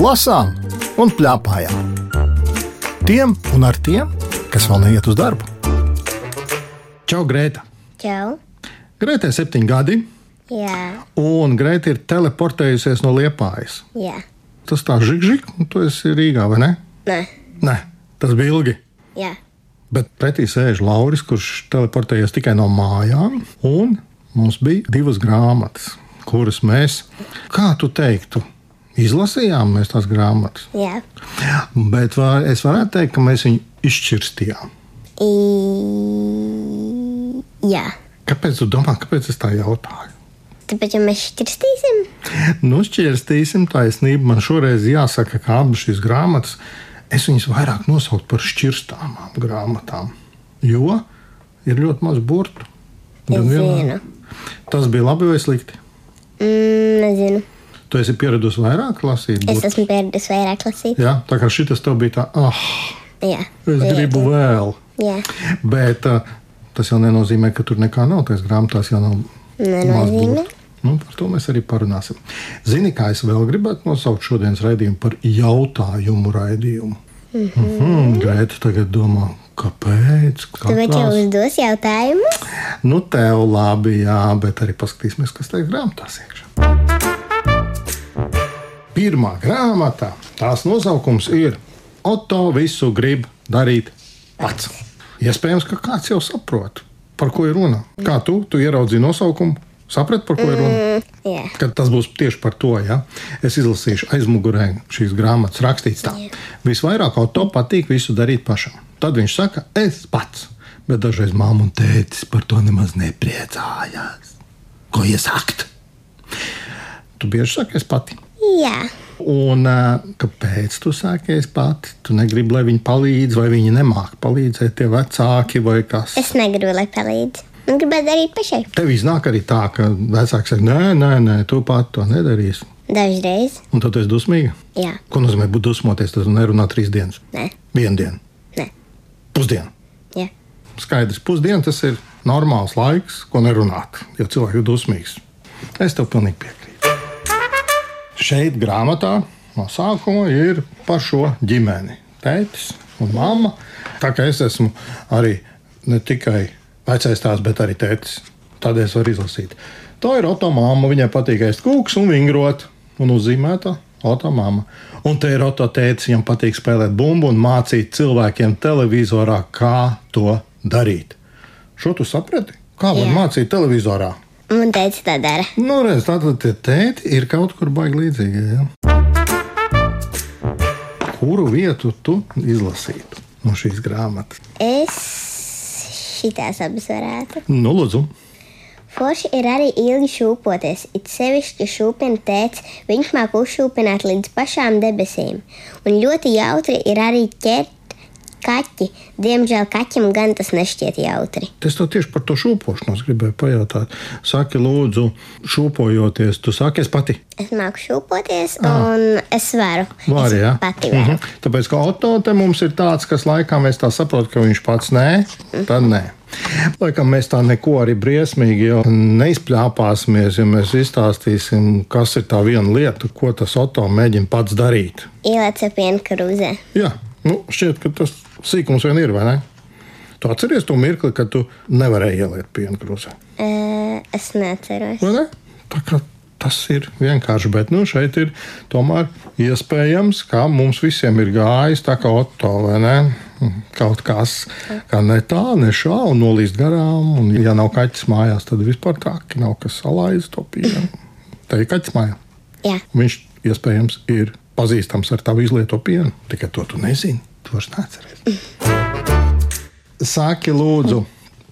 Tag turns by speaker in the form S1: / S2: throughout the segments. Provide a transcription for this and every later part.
S1: lasām un plakājām. Tiem un ar tiem, kas vēl neiet uz darbu. Čau, Grēta!
S2: Čau.
S1: Grētai ir septiņi gadi,
S2: Jā,
S1: un Grēta ir teleportējusies no Liepājas.
S2: jā.
S1: Tas tā žigžig, un tu esi Rīgā, vai ne?
S2: Nē,
S1: Nē, tas bija ilgi.
S2: jā.
S1: Bet pretī sēž Lauris, kurš teleportējies tikai no mājām. Un mums bija divas grāmatas, kuras mēs, kā tu teiktu, izlasījām mēs tās grāmatas.
S2: jā.
S1: Bet var, es varētu teikt, ka mēs viņu izšķirstījām.
S2: I... jā.
S1: Kāpēc tu domā, kāpēc es tā jautāju?
S2: Tāpēc, ja mēs šķirstīsim,
S1: Nu, šķirstīsim taisnību. Man šoreiz jāsaka, ka abas šīs grāmatas, es viņas vairāk nosauktu par šķirstāmām grāmatām, jo ir ļoti maz burtu.
S2: es
S1: Gan vienā-
S2: zinu.
S1: Tas bija labi vai slikti?
S2: Mm, nezinu.
S1: Tu esi pieradusi vairāk lasīt.
S2: Es
S1: burtus?
S2: esmu pieredzējis vairāk lasīt.
S1: Jā, tā kā šis tev bija tā, ah,
S2: Jā.
S1: es gribu vēl.
S2: Jā.
S1: Bet ah, tas jau nenozīmē, ka tur nekā nav. Tās grāmatās jau nav. maz
S2: Nenozīmē.
S1: burtu. Nu, par to mēs arī parunāsim. Zini, kā es vēl gribētu nosaukt šodienas raidījumu par jautājumu raidījumu. Mm
S2: Mhm.
S1: -hmm. Gaita tagad domā, kāpēc?
S2: Tāpēc, ja
S1: Katrās-
S2: uzdos jautājumus,
S1: Nu, tev labi, jā, bet arī paskatīsimies, kas tajā grāmatās iekšā. Pirmā grāmata, tās nosaukums ir Oto visu grib darīt pats. Iespējams, ka kāds jau saprot, par ko ir runa. Kā tu, tu ieraudzīji nosaukumu, saprati, par ko ir runa?
S2: jā.
S1: Kad tas būs tieši par to, ja es izlasīšu aizmugurē šīs grāmatas rakstīts tā. Visvairāk auto patīk visu darīt pašam. Tad viņš saka, es pats. Bet dažreiz mamma un tētis par to nemaz nepriecājās. Ko iesakt? Tu bieži saki, es pati.
S2: Jā.
S1: Un ā, kāpēc tu sākies pati? Tu negribi, lai viņi palīdz, vai viņi nemāk palīdzēt, tie vecāki vai kas?
S2: Es negribu, lai palīdz. Man gribētu darīt pašai.
S1: Tev iznāk arī tā, ka vecāki saka, nē, nē, nē, tu pati to nedarīsi.
S2: Dažreiz.
S1: Un tad tu esi dusmīga.
S2: Jā.
S1: Ko nozīmē būt dusmoties? Tas nerunā trīs dienas.
S2: Nē.
S1: Vienu dienu,
S2: Nē.
S1: pusdienu.
S2: Jā.
S1: Skaidrs, pusdiena tas ir normāls laiks, ko nerunāt, jo cilvēks ir dusmīgs. Es tev pilnīgi piekrītu. Šeit grāmatā no sākuma ir par šo ģimeni. Tētis un mamma. Tā kā es esmu arī ne tikai vecais tās, bet arī tētis. Tādēļ es varu izlasīt. Tā ir Oto māma. Viņai patīk ēst kūks un vingrot. Un uzzīmēta Oto māma. Un te ir Oto tētis. Viņam patīk spēlēt bumbu un mācīt cilvēkiem televizorā, kā to darīt. Šo tu saprati? Kā man
S2: Jā.
S1: mācīt televizorā?
S2: Man teica, tā dara.
S1: Nu, redz, tātad tie tēti ir kaut kur baigi līdzīgi. Ja? Kuru vietu tu izlasītu no šīs grāmatas?
S2: Es šitās abas varētu.
S1: Nu, lūdzu,
S2: Forši ir arī ilgi šūpoties, it sevišķi šūpina tēts, viņš māk uzšūpināt līdz pašām debesīm. Un ļoti jautri ir arī ķert kaķi. Diemžēl kaķim gan tas nešķiet jautri.
S1: es tev tieši par to šūpošanos gribēju pajautāt. Saki, lūdzu, šūpojoties, tu sākies pati.
S2: Es māku šūpoties, un es varu.
S1: Vari,
S2: es
S1: ja?
S2: pati varu.
S1: Mhm. Tāpēc, ka Oto te mums ir tāds, kas laikam es tā saprotu, ka viņš pats nē, tad nē. Laikam mēs tā neko arī briesmīgi jau neizplāpāsimies, ja mēs izstāstīsim, kas ir tā viena lieta, ko tas Oto mēģina pats darīt.
S2: Ielēca piena krūzē.
S1: Jā, nu, šķiet, ka tas sīkums vien ir, vai ne? Tu atceries to mirkli, kad tu nevarēji ieliet piena krūzē.
S2: E, es neceros.
S1: Vai ne? Tā kā Tas ir vienkārši, bet nu, šeit ir tomēr iespējams, ka mums visiem ir gājis tā kā Oto vai ne. Kaut kas, kā ne tā, ne šā, un nolīst garām. Un, ja nav kaķis mājās, tad vispār tā, ka nav kas salaizt to pienu. Tā ir kaķis mājā.
S2: Jā,
S1: Viņš iespējams ir pazīstams ar tavu izlieto pienu. Tikai to tu nezini. To es neatceros. Sāki lūdzu,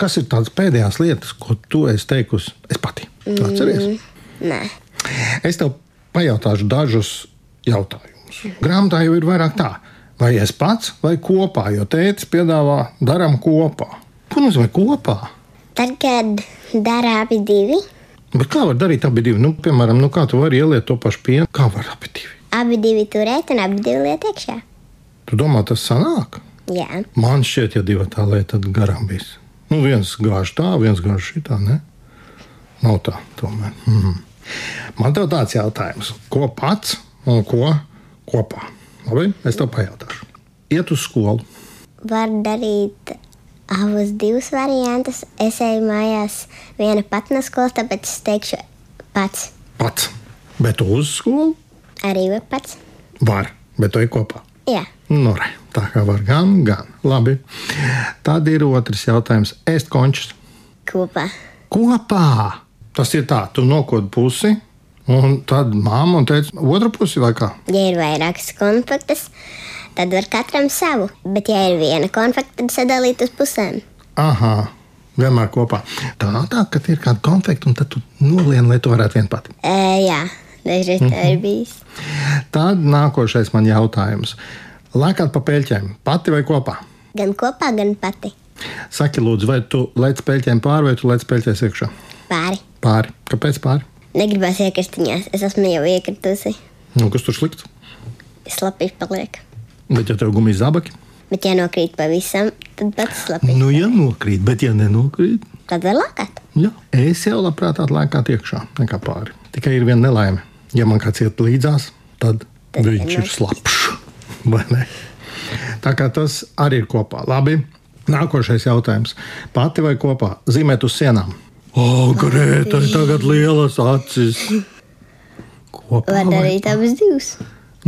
S1: kas ir tās pēdējās lietas, ko tu esi teikusi? Es pati. Tu atceries?
S2: nē.
S1: Es tev pajautāšu dažus jautājumus. Grāmatā jau ir vairāk tā, vai es pats vai kopā, jo tēvs piedāvā darām kopā. Ko nozīmē kopā?
S2: Tad, kad dara abi divi,
S1: Bet kā var darīt abi divi? Nu, piemēram, nu, kā tu vari ieliet to pašu pienu? Kā var abi divi?
S2: abi divi turēt un abi divi liet iekšā.
S1: Tu domā, tas sanāk?
S2: Jā,
S1: Man šķiet, ja divi tā lieta, tad garām bijis. Nu, viens gāž tā, viens gāž šitā. Ne? Nav Mhm. tā, tomēr. Mm. Man te ir tāds jautājums, ko pats un ko kopā. Labi, es tev pajautāšu. Iet uz skolu.
S2: Var darīt abus divus variantus. Es eju mājās viena pat no skolas, tāpēc es teikšu pats.
S1: Pats. Bet uz skolu
S2: Arī vai pats?
S1: var, bet tu ej kopā.
S2: Jā.
S1: Nu, re, tā kā var gan, gan. Labi. Tad ir otrs jautājums. Ēst končus
S2: Kopā.
S1: kopā. Tas ir tā, tu nokod pusi, un tad mamma teica, otru pusi vai kā?
S2: Ja ir vairākas konfektes, tad var katram savu. Bet, ja ir viena konfekte, tad sadalīt uz pusēm.
S1: Aha, vienmēr kopā. Tā nav tā, ka ir kāda konfekta, un tad tu nolieni, lai to varētu vienpat.
S2: E, jā, dažreiz tā ir bijis.
S1: Tad nākošais man jautājums. Lēkāt pa pēļķiem, pati vai kopā?
S2: Gan kopā, gan pati.
S1: Saki, lūdzu, vai tu lec pēļķiem pāri vai tu lec pēļķēs iekšā?
S2: Pāri.
S1: Pāri. Kāpēc pāri?
S2: Negribas iekristiņās. Es esmu jau iekritusi.
S1: Nu, kas tur slikts?
S2: Slapīgi paliek.
S1: Bet ja tev gumijas zābaki?
S2: Bet, ja nokrīt pavisam, tad pats slapīgi.
S1: Nu, ja nokrīt, bet ja nenokrīt,
S2: Tad var lakāt.
S1: Jā, es jau labprāt atlēkātu iekšā, nekā pāri. Tikai ir viena nelaime. Ja man kāds iet līdzās, tad, tad
S2: Tad
S1: viņš ir
S2: vienmēr.
S1: slapjš. vai ne? Tā kā tas arī ir kopā. Labi. Nākošais jautājums. Pati vai kopā zīmēt uz sienām? O, Grēta, ir tagad lielas acis. Kopā
S2: Var
S1: vai?
S2: darīt abas divas.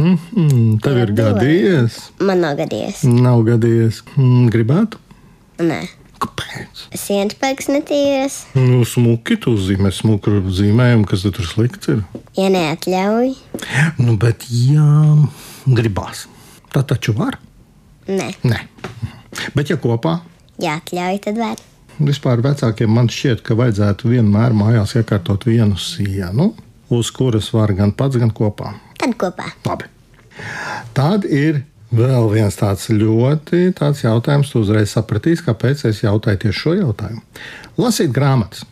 S1: Mm, tev ir
S2: Labi, vai?
S1: gadījies?
S2: Man nav gadījies.
S1: Nav gadījies. Mm, gribētu?
S2: Nē,
S1: Kāpēc?
S2: sienas paigas netīras.
S1: Nu, smuki tu zīmē, smuku zīmējumu, kas tad tur slikts ir.
S2: Ja neatļauj,
S1: Nu, bet, ja gribās, tad taču var.
S2: nē,
S1: Nē. Bet, ja kopā,
S2: ja atļauj, tad var.
S1: vispār vecākiem man šķiet, ka vajadzētu vienmēr mājās iekārtot vienu sienu, uz kuras var gan pats, gan kopā.
S2: Tad kopā.
S1: Labi. Tad ir vēl viens tāds ļoti tāds jautājums, tu uzreiz sapratīs, kāpēc es jautāju tieši šo jautājumu. Lasīt grāmatas.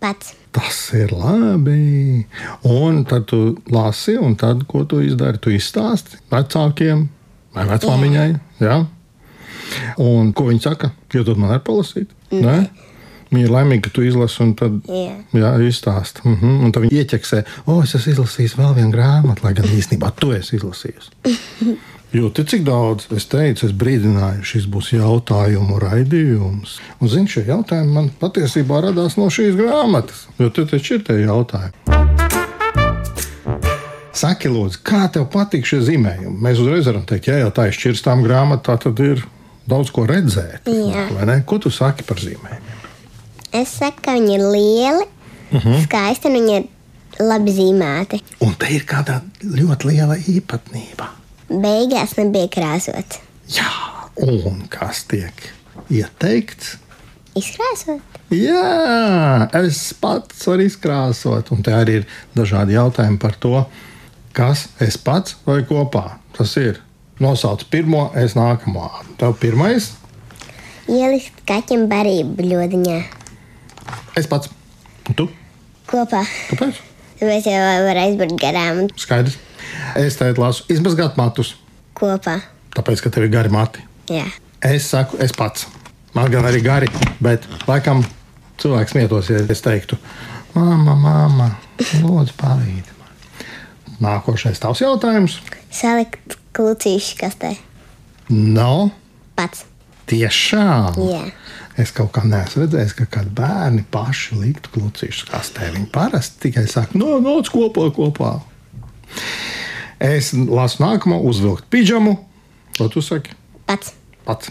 S2: Pats.
S1: Tas ir labi. Un tad tu lasi, un tad, ko tu izdari, tu izstāsti vecākiem vai vecmāmiņai. Jā. Un ko viņi saka? Jūs man arī palasīt? Nē. Viņa ir laimīga, ka tu izlasi, un tad
S2: Jā.
S1: jā, izstāsti. Mm -hmm. Un tad viņi ieķeksē, o, es esmu izlasījis vēl vienu grāmatu, lai gan īstenībā tu esi izlasījis. Jūti, cik daudz es teicu, es brīdināju, šis būs jautājumu raidījums. Un, zini, šie jautājumi man patiesībā radās no šīs grāmatas, jo tur taču ir tie jautājumi. Saki, lūdzu, kā tev patīk šie zīmējumi? Mēs uzreiz varam teikt, ja jau tā ir šķirstām grāmatā, tad ir daudz ko redzēt.
S2: Jā.
S1: vai ne? Ko tu saki par zīmējumiem?
S2: Es saku, ka viņi ir lieli, uh -huh. skaisti un viņi ir labi zīmēti.
S1: Un te ir kāda ļoti liela īpatnība.
S2: Beigās nebija krāsot.
S1: Jā, un kas tiek ieteikts?
S2: Izkrāsot.
S1: Jā, es pats varu izkrāsot. Un te arī ir dažādi jautājumi par to, kas es pats vai kopā. Tas ir nosauc pirmo, es nākamā. Tev pirmais,
S2: Ielikt kaķim barību bļodiņā.
S1: es pats. Un tu?
S2: Kopā.
S1: Kāpēc?
S2: Tāpēc jau var aizbraukt garām un
S1: Skaidrs. Es teicu, lasu izmazgāt matus,
S2: kopā.
S1: tāpēc, ka tev ir gari mati.
S2: Jā.
S1: Es saku, es pats. Man gan arī gari, bet laikam cilvēks smietos, ja es teiktu, māma, māma, lūdzu, pavīdi man. Nākošais tavs jautājums.
S2: Salikt klucīšu kastē.
S1: Nav
S2: Pats.
S1: tiešām.
S2: Jā.
S1: Es kaut kā neesmu redzējis, ka kad bērni paši liktu klucīšu kastē, viņi parasti tikai saka, no nāc kopā, kopā. Es lasu nākamo, uzvilkt pidžamu. Ko tu saki?
S2: Pats.
S1: Pats.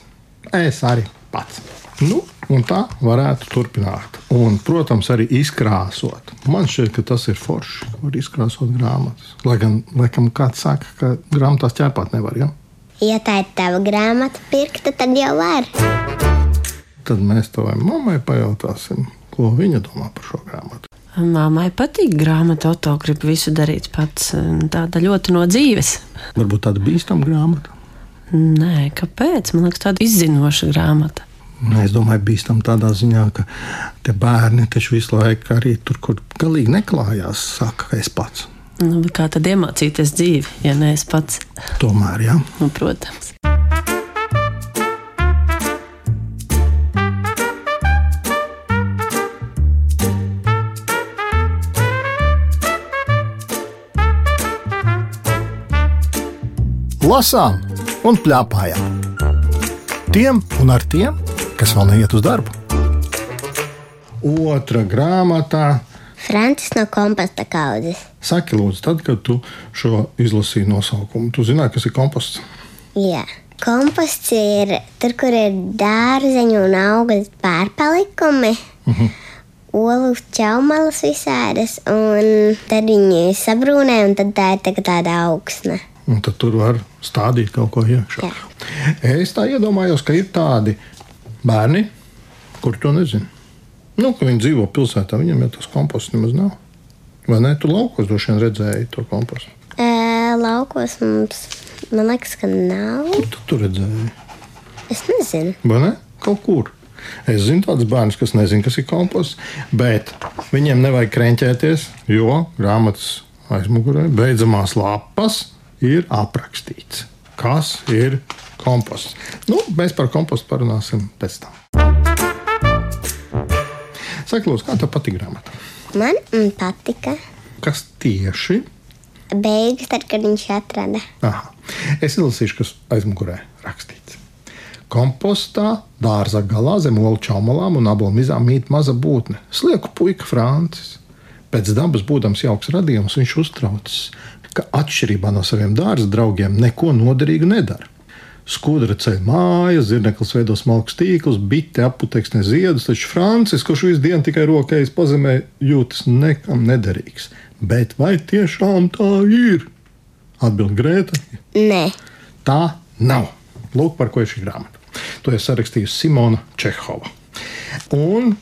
S1: Es arī pats. Nu, un tā varētu turpināt. Un, protams, arī izkrāsot. Man šķiet, ka tas ir forši, kur izkrāsot grāmatas. Lai gan, laikam, kāds saka, ka grāmatās ķēpāt nevar. Ja?
S2: Ja tā ir tava grāmata pirkta, tad jau var.
S1: Tad mēs tavai mammai pajautāsim, ko viņa domā par šo grāmatu.
S3: Māmai patīk grāmata, Oto grib visu darīt pats. un Tāda ļoti no dzīves.
S1: Varbūt tāda bīstama grāmata.
S3: Nē, kāpēc? Man liekas, tāda izzinoša grāmata.
S1: Nu, Es domāju, bīstam tādā ziņā, ka tie bērni taču visu laiku arī tur, kur galīgi neklājās, saka, ka es pats.
S3: Nu, bet kā tad iemācīties dzīvi, ja ne es pats?
S1: Tomēr, jā. Ja?
S3: Nu, protams.
S1: lasām un plēpājām. Tiem un ar tiem, kas vēl neiet uz darbu. Otra grāmatā
S2: Francis no kompasta kaudzes.
S1: Saki, lūdzu, tad, kad tu šo izlasīji nosaukumu, tu zināji, kas ir komposts.
S2: Jā. Komposts ir tur, kur ir dārzeņu un augļu pārpalikumi. Olu ķaumalas visādas, un tad viņi sabrūnē, un tad tā ir tagad tāda augsne.
S1: Un tad tur var stādīt kaut ko iekšā.
S2: Jā.
S1: Es tā iedomājos, ka ir tādi bērni, kur to nezinu. Nu, ka viņi dzīvo pilsētā, viņiem jau tas komposts nemaz nav. Vai ne? Tu laukos droši vien redzēji to kompostu.
S2: E, laukos mums, man liekas, ka nav.
S1: Kur tu to redzēji?
S2: Es nezinu.
S1: Vai ne? Kaut kur. Es zinu tādus bērnus, kas nezina, kas ir komposts, bet viņiem nevajag krenķēties, jo grāmatas aizmugurē beidzamās lapas ir aprakstīts, kas ir komposts. Nu, mēs par kompostu parunāsim pēc tam. Saklūdzu, kā tev patīk grāmata?
S2: Man mm, patika
S1: Kas tieši?
S2: beigas, tad, kad viņš atrada.
S1: Aha. Es izlasīšu, kas aizmugurē rakstīts. Kompostā, dārza galā, zem olu čaumalām un abām mizām mīt maza būtne - slieku puika Francis. Pēc dabas būdams jauks radījums, viņš uztraucas, ka atšķirībā no saviem dārza draugiem neko noderīgu nedara. Skudra ceļ mājas, zirneklis veido smalkus tīklus, bite aputeksne ziedus, taču Francis, kurš visu dienu tikai rokējas pazemē, jūtas nekam nederīgs. Bet vai tiešām tā ir? Atbild Grēta.
S2: Nē,
S1: Tā nav. Lūk, par ko ir šī grāmata. To ir sarakstījusi Simona Čehova. Un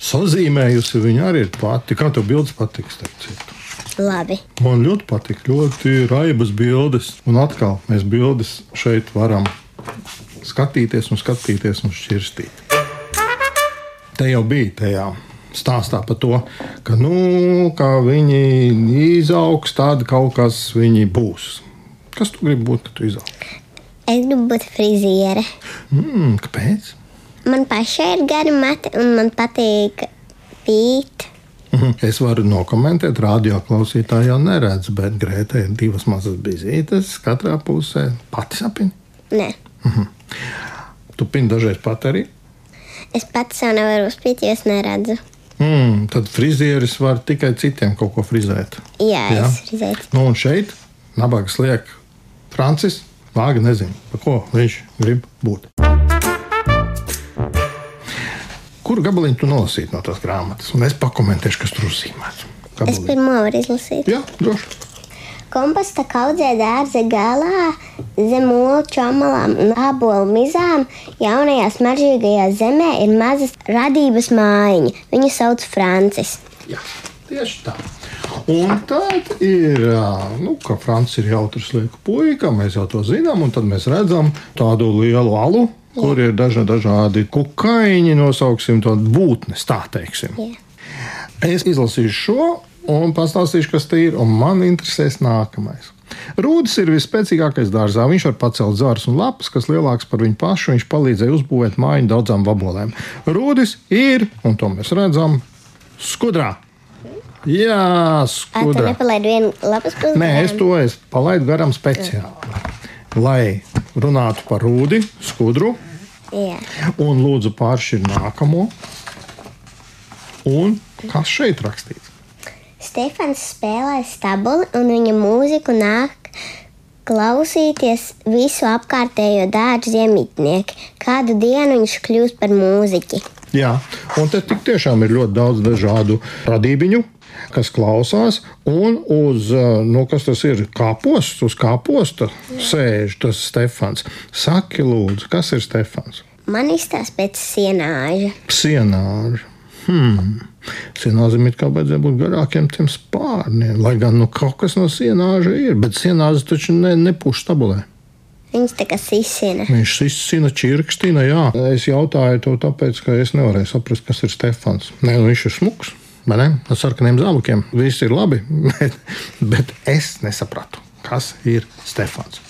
S1: sazīmējusi viņa arī ir pati. Kā tev bildes patīk? starp citu?
S2: labi.
S1: Man ļoti patīk, ļoti raibas bildes. Un atkal mēs bildes šeit varam skatīties, un skatīties un šķirstīt. Te jau bija tajā stāstā par to, ka, nu, ka viņi izaugs, tad kaut kas viņi būs. Kas tu gribi būt, kad tu izaugs?
S2: Es gribu būt friziere.
S1: Mm, kāpēc?
S2: Man pašai ir gari mati, un man patīk pīt.
S1: Mhm. Es varu nokomentēt, radio klausītāji jau neredz, bet Grētai ir divas mazas bizītes katrā pusē. Pati sapņo.
S2: Nē,
S1: Tu pini dažreiz pat arī.
S2: es pats sev nevaru uzpīt, jo es neredzu.
S1: Mm, tad frizieris var tikai citiem kaut ko frizēt.
S2: Jā,
S1: Jā.
S2: Jā. es frizēju.
S1: Nu, un šeit nabaga liek Francis. Vāga nezina, par ko viņš grib būt. Kuru gabaliņu tu nolasīji no tās grāmatas? Un es pakomentēšu, kas tur uzzīmēts.
S2: Es
S1: Gabaliņu.
S2: pirmo varu izlasīt.
S1: Jā, droši.
S2: Komposta kaudzē dārza galā, zem olu čomalām un ābolu mizām, jaunajā smaržīgajā zemē ir mazas radības mājiņa. Viņu sauc Francis.
S1: Jā, tieši tā. Un tad ir, ā, nu, ka Francija ir jautrs lieku puika, mēs jau to zinām, un tad mēs redzam tādu lielu alu, kur ir daža, dažādi kukaiņi, nosauksim to būtnes, tā teiksim.
S2: Jā.
S1: Es izlasīšu šo un pastāstīšu, kas tas ir. un Man interesēs nākamais. Rūdis ir visspēcīgākais dārzā. Viņš var pacelt zārus un lapas, kas lielāks par viņu pašu. Viņš palīdzēja uzbūvēt mājiņu daudzām vabolēm. Rūdis ir, un to mēs redzam, skudrā. Jā,
S2: Ai, Tu
S1: skudrā.
S2: nepalaidi vienu labas puses.
S1: Nē, es to es palaidu garām speciāli. Lai runātu par rūdi, skudru,
S2: Jā.
S1: un lūdzu pāršķirt nākamo. Un kas šeit rakstīts?
S2: Stefans spēlē stabuli un viņa mūziku nāk klausīties visu apkārtējo dārzu ziemitnieki. Kādu dienu viņš kļūs par mūziķi.
S1: Jā, un te tik tiešām ir ļoti daudz dažādu radību, kas klausās. Un uz, eh, nu, kas tas ir? Kāposts, uz kāposta sēž tas Stefans. Saki, lūdzu, kas ir Stefans?
S2: Man izstāsta pēc sienāža.
S1: Sienāža. Hmm. Sienāžam ir kā vajadzēja būt garākiem tiem spārniem. Lai gan nu, kaut kas no sienāža ir, bet sienāža taču ne, nepūš stabilē.
S2: Viņš tā kā sisina.
S1: Viņš izsina čirkstina, jā. Es jautāju to tāpēc, ka es nevarēju saprast, kas ir Stefans. Nē, nu, viņš ir smuks. vai ne? Ar sarkaniem zābakiem. Viss ir labi, bet, bet es nesapratu, kas ir Stefans.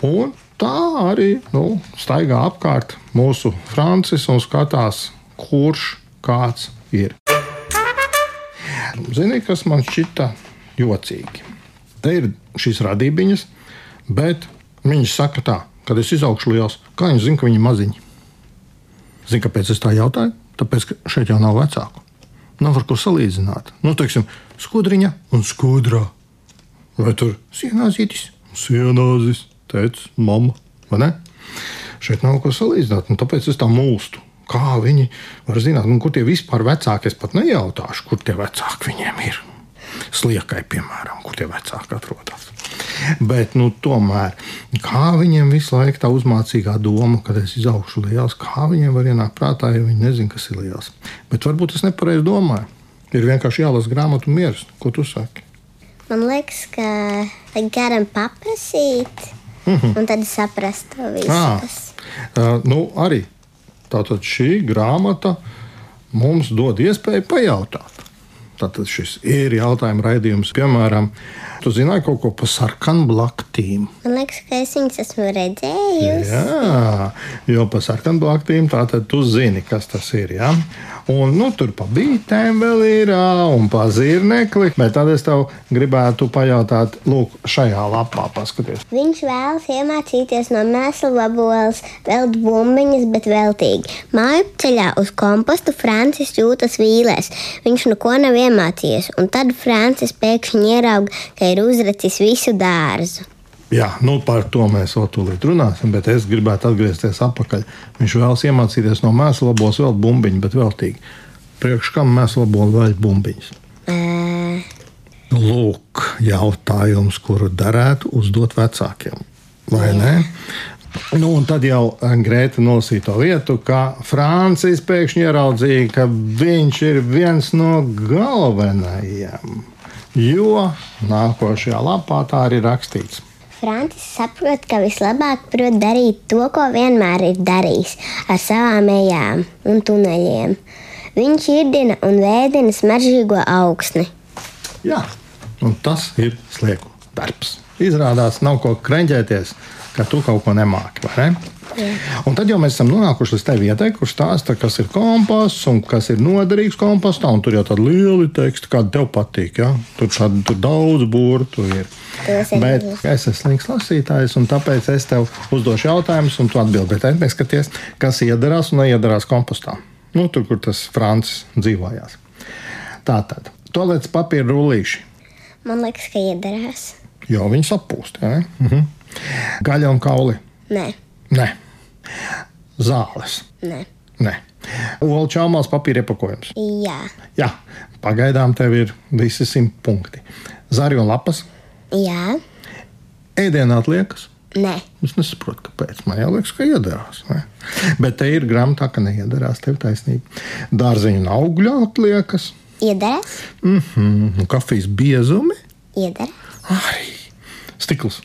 S1: Un tā arī nu, staigā apkārt mūsu Francis un skatās, kurš kāds ir. Zini, kas man šķita jocīgi? Te ir šīs radībiņas, bet Viņš saka, tā, kad es izaugšu liels, kā viņš zina, ka viņi ir maziņi. Zini, kāpēc es tā jautāju? Tāpēc, ka šeit jau nav vecāku. Nav ar ko salīdzināt. Nu, teiksim, skudriņa un skudra. Vai tur sienāzītis? Sienāzis, teica mamma. Vai ne? Šeit nav ko salīdzināt, un tāpēc es tā mūlstu. Kā viņi var zināt, nu, kur tie vispār vecāki? Es pat nejautāšu, kur tie vecāki viņiem ir. Sliekai, piemēram, kur tie vecāki atrodas. Bet, nu, tomēr, kā viņiem visu laiku tā uzmācīgā doma, kad es izaugšu liels, kā viņiem var ienākt prātā, ja viņi nezina, kas ir liels. Bet varbūt es nepareizi domāju. Ir vienkārši jālasa grāmatu mieras, ko tu saki.
S2: Man liekas, ka vajag garam paprasīt, un tad saprast to visu.
S1: Ā.
S2: kas-
S1: Uh, Ah. nu, arī tātad šī grāmata mums dod iespēju pajautāt. Tātad šis ir jautājuma raidījums. Piemēram, tu zināji kaut ko par sarkanu blaktīm.
S2: Man liekas, ka es viņus esmu redzējis.
S1: Jā, jo par sarkanu blaktīm tātad tu zini, kas tas ir. Ja? Un nu, tur pa bītēm vēl ir, ā, un pa zirnekli. Bet tad es tev gribētu pajautāt, lūk, šajā lapā paskaties.
S2: Viņš vēlas iemācīties no mēsla laboles, velt bumbiņas, bet veltīgi. Māju ceļā uz kompostu Francis jūtas vīlēs. Viņš neko nav iemācījies, un tad Francis pēkšņi ieraudzīja, ka ir uzracis visu dārzu.
S1: Jā, nu par to mēs vēl tūlīt runāsim, bet es gribētu atgriezties atpakaļ. Viņš vēlas iemācīties no mēslabos vēl bumbiņu, bet veltīgi. Priekš kam mēslabo vēl bumbiņas?
S2: Ē,
S1: Lūk, jautājums, kuru darētu uzdot vecākiem. Vai ne? Nu, un tad jau eh, Grēta nolasīja to vietu, ka Francis pēkšņi ieraudzīja, ka viņš ir viens no galvenajiem. Jo nākošajā lapā tā arī rakstīts.
S2: Francis saprot, ka vislabāk prot darīt to, ko vienmēr ir darījis, ar savām ejām un tuneļiem. Viņš irdina un veidina smaržīgo augsni.
S1: Jā, un tas ir slieku darbs. Izrādās, nav ko krenģēties, ka tu kaut ko nemāki. vai Ne? Un tad jau mēs esam nonākuši līdz tai vietai, kur stāsta, kas ir kompass un kas ir noderīgs kompostā. un Tur jau tādi lieli teksti, kādi tev patīk. Ja? Tur, tādi, tur daudz burtu ir.
S2: Es arī
S1: Bet
S2: esmu.
S1: es esmu slings lasītājs, un tāpēc es tev uzdošu jautājumus, un tu atbildēji. Mēs skaties, kas iedarās un neiedarās kompostā. Nu, tur, kur tas Francis dzīvojās. Tā tad, toplētas papīra rullīši.
S2: Man liekas, ka iedarās.
S1: Jo viņi sapūst. Ja? Mhm. Gaļa un kauli.
S2: Nē,
S1: Nē. Zāles.
S2: nē.
S1: Nē. Olu čāmās papīra iepakojums.
S2: Jā,
S1: Jā, pagaidām tev ir visi simt punkti. Zari un lapas.
S2: jā,
S1: Ēdienā atliekas.
S2: nē.
S1: Es nesaprotu, kāpēc. Man liekas, ka iedarās. Ne? Bet te ir grāmatā, ka neiedarās. Tev taisnība. Dārziņu un augļu atliekas.
S2: Iedarās,
S1: Mm -hmm. Kafijas biezumi.
S2: iedarās,
S1: Arī stikls.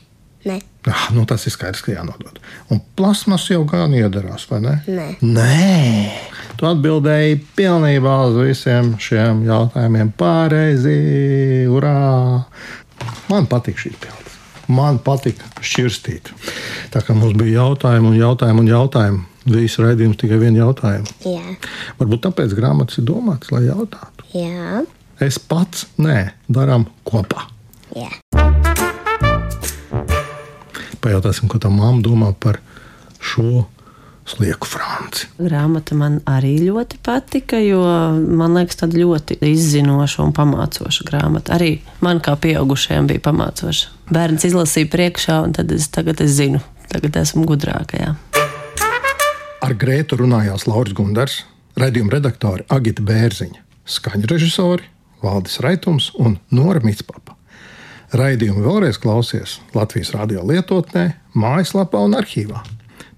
S2: nē.
S1: Ah, nu tas ir skaidrs, ka jānodod. Un plasmas jau gan iedarās, vai ne?
S2: Nē.
S1: Nē. Tu atbildēji pilnībā uz visiem šiem jautājumiem. Pareizi, urā! Man patīk šī atbilde. Man patīk šķirstīt. Tā kā mums bija jautājumi un jautājumi un jautājumi. Visu raidījumu tikai vienu jautājumu.
S2: Jā,
S1: Varbūt tāpēc grāmatas ir domātas, lai jautātu.
S2: jā,
S1: Es pats nē, darām kopā.
S2: jā.
S1: Pajautāsim, ko tā mamma domā par šo slieku franci.
S3: Grāmata man arī ļoti patika, jo man liekas, tāda ļoti izzinoša un pamācoša grāmata. Arī man kā pieaugušajam bija pamācoša. Bērns izlasīja priekšā, un tad es tagad es zinu, tagad esmu gudrākajā.
S1: Ar Grētu runājās Lauris Gundars, redzējuma redaktore Agita Bērziņa, skaņu režisori Valdis Raitums un Nora Mitspapa. Raidījumu vēlreiz klausies Latvijas radio lietotnē, mājaslapā un arhīvā.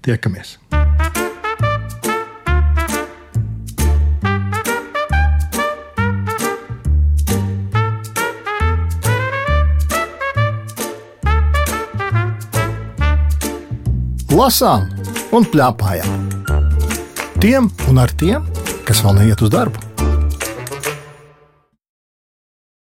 S1: Tiekamies! Lasām un plēpājām! Tiem un ar tiem, kas vēl neiet uz darbu!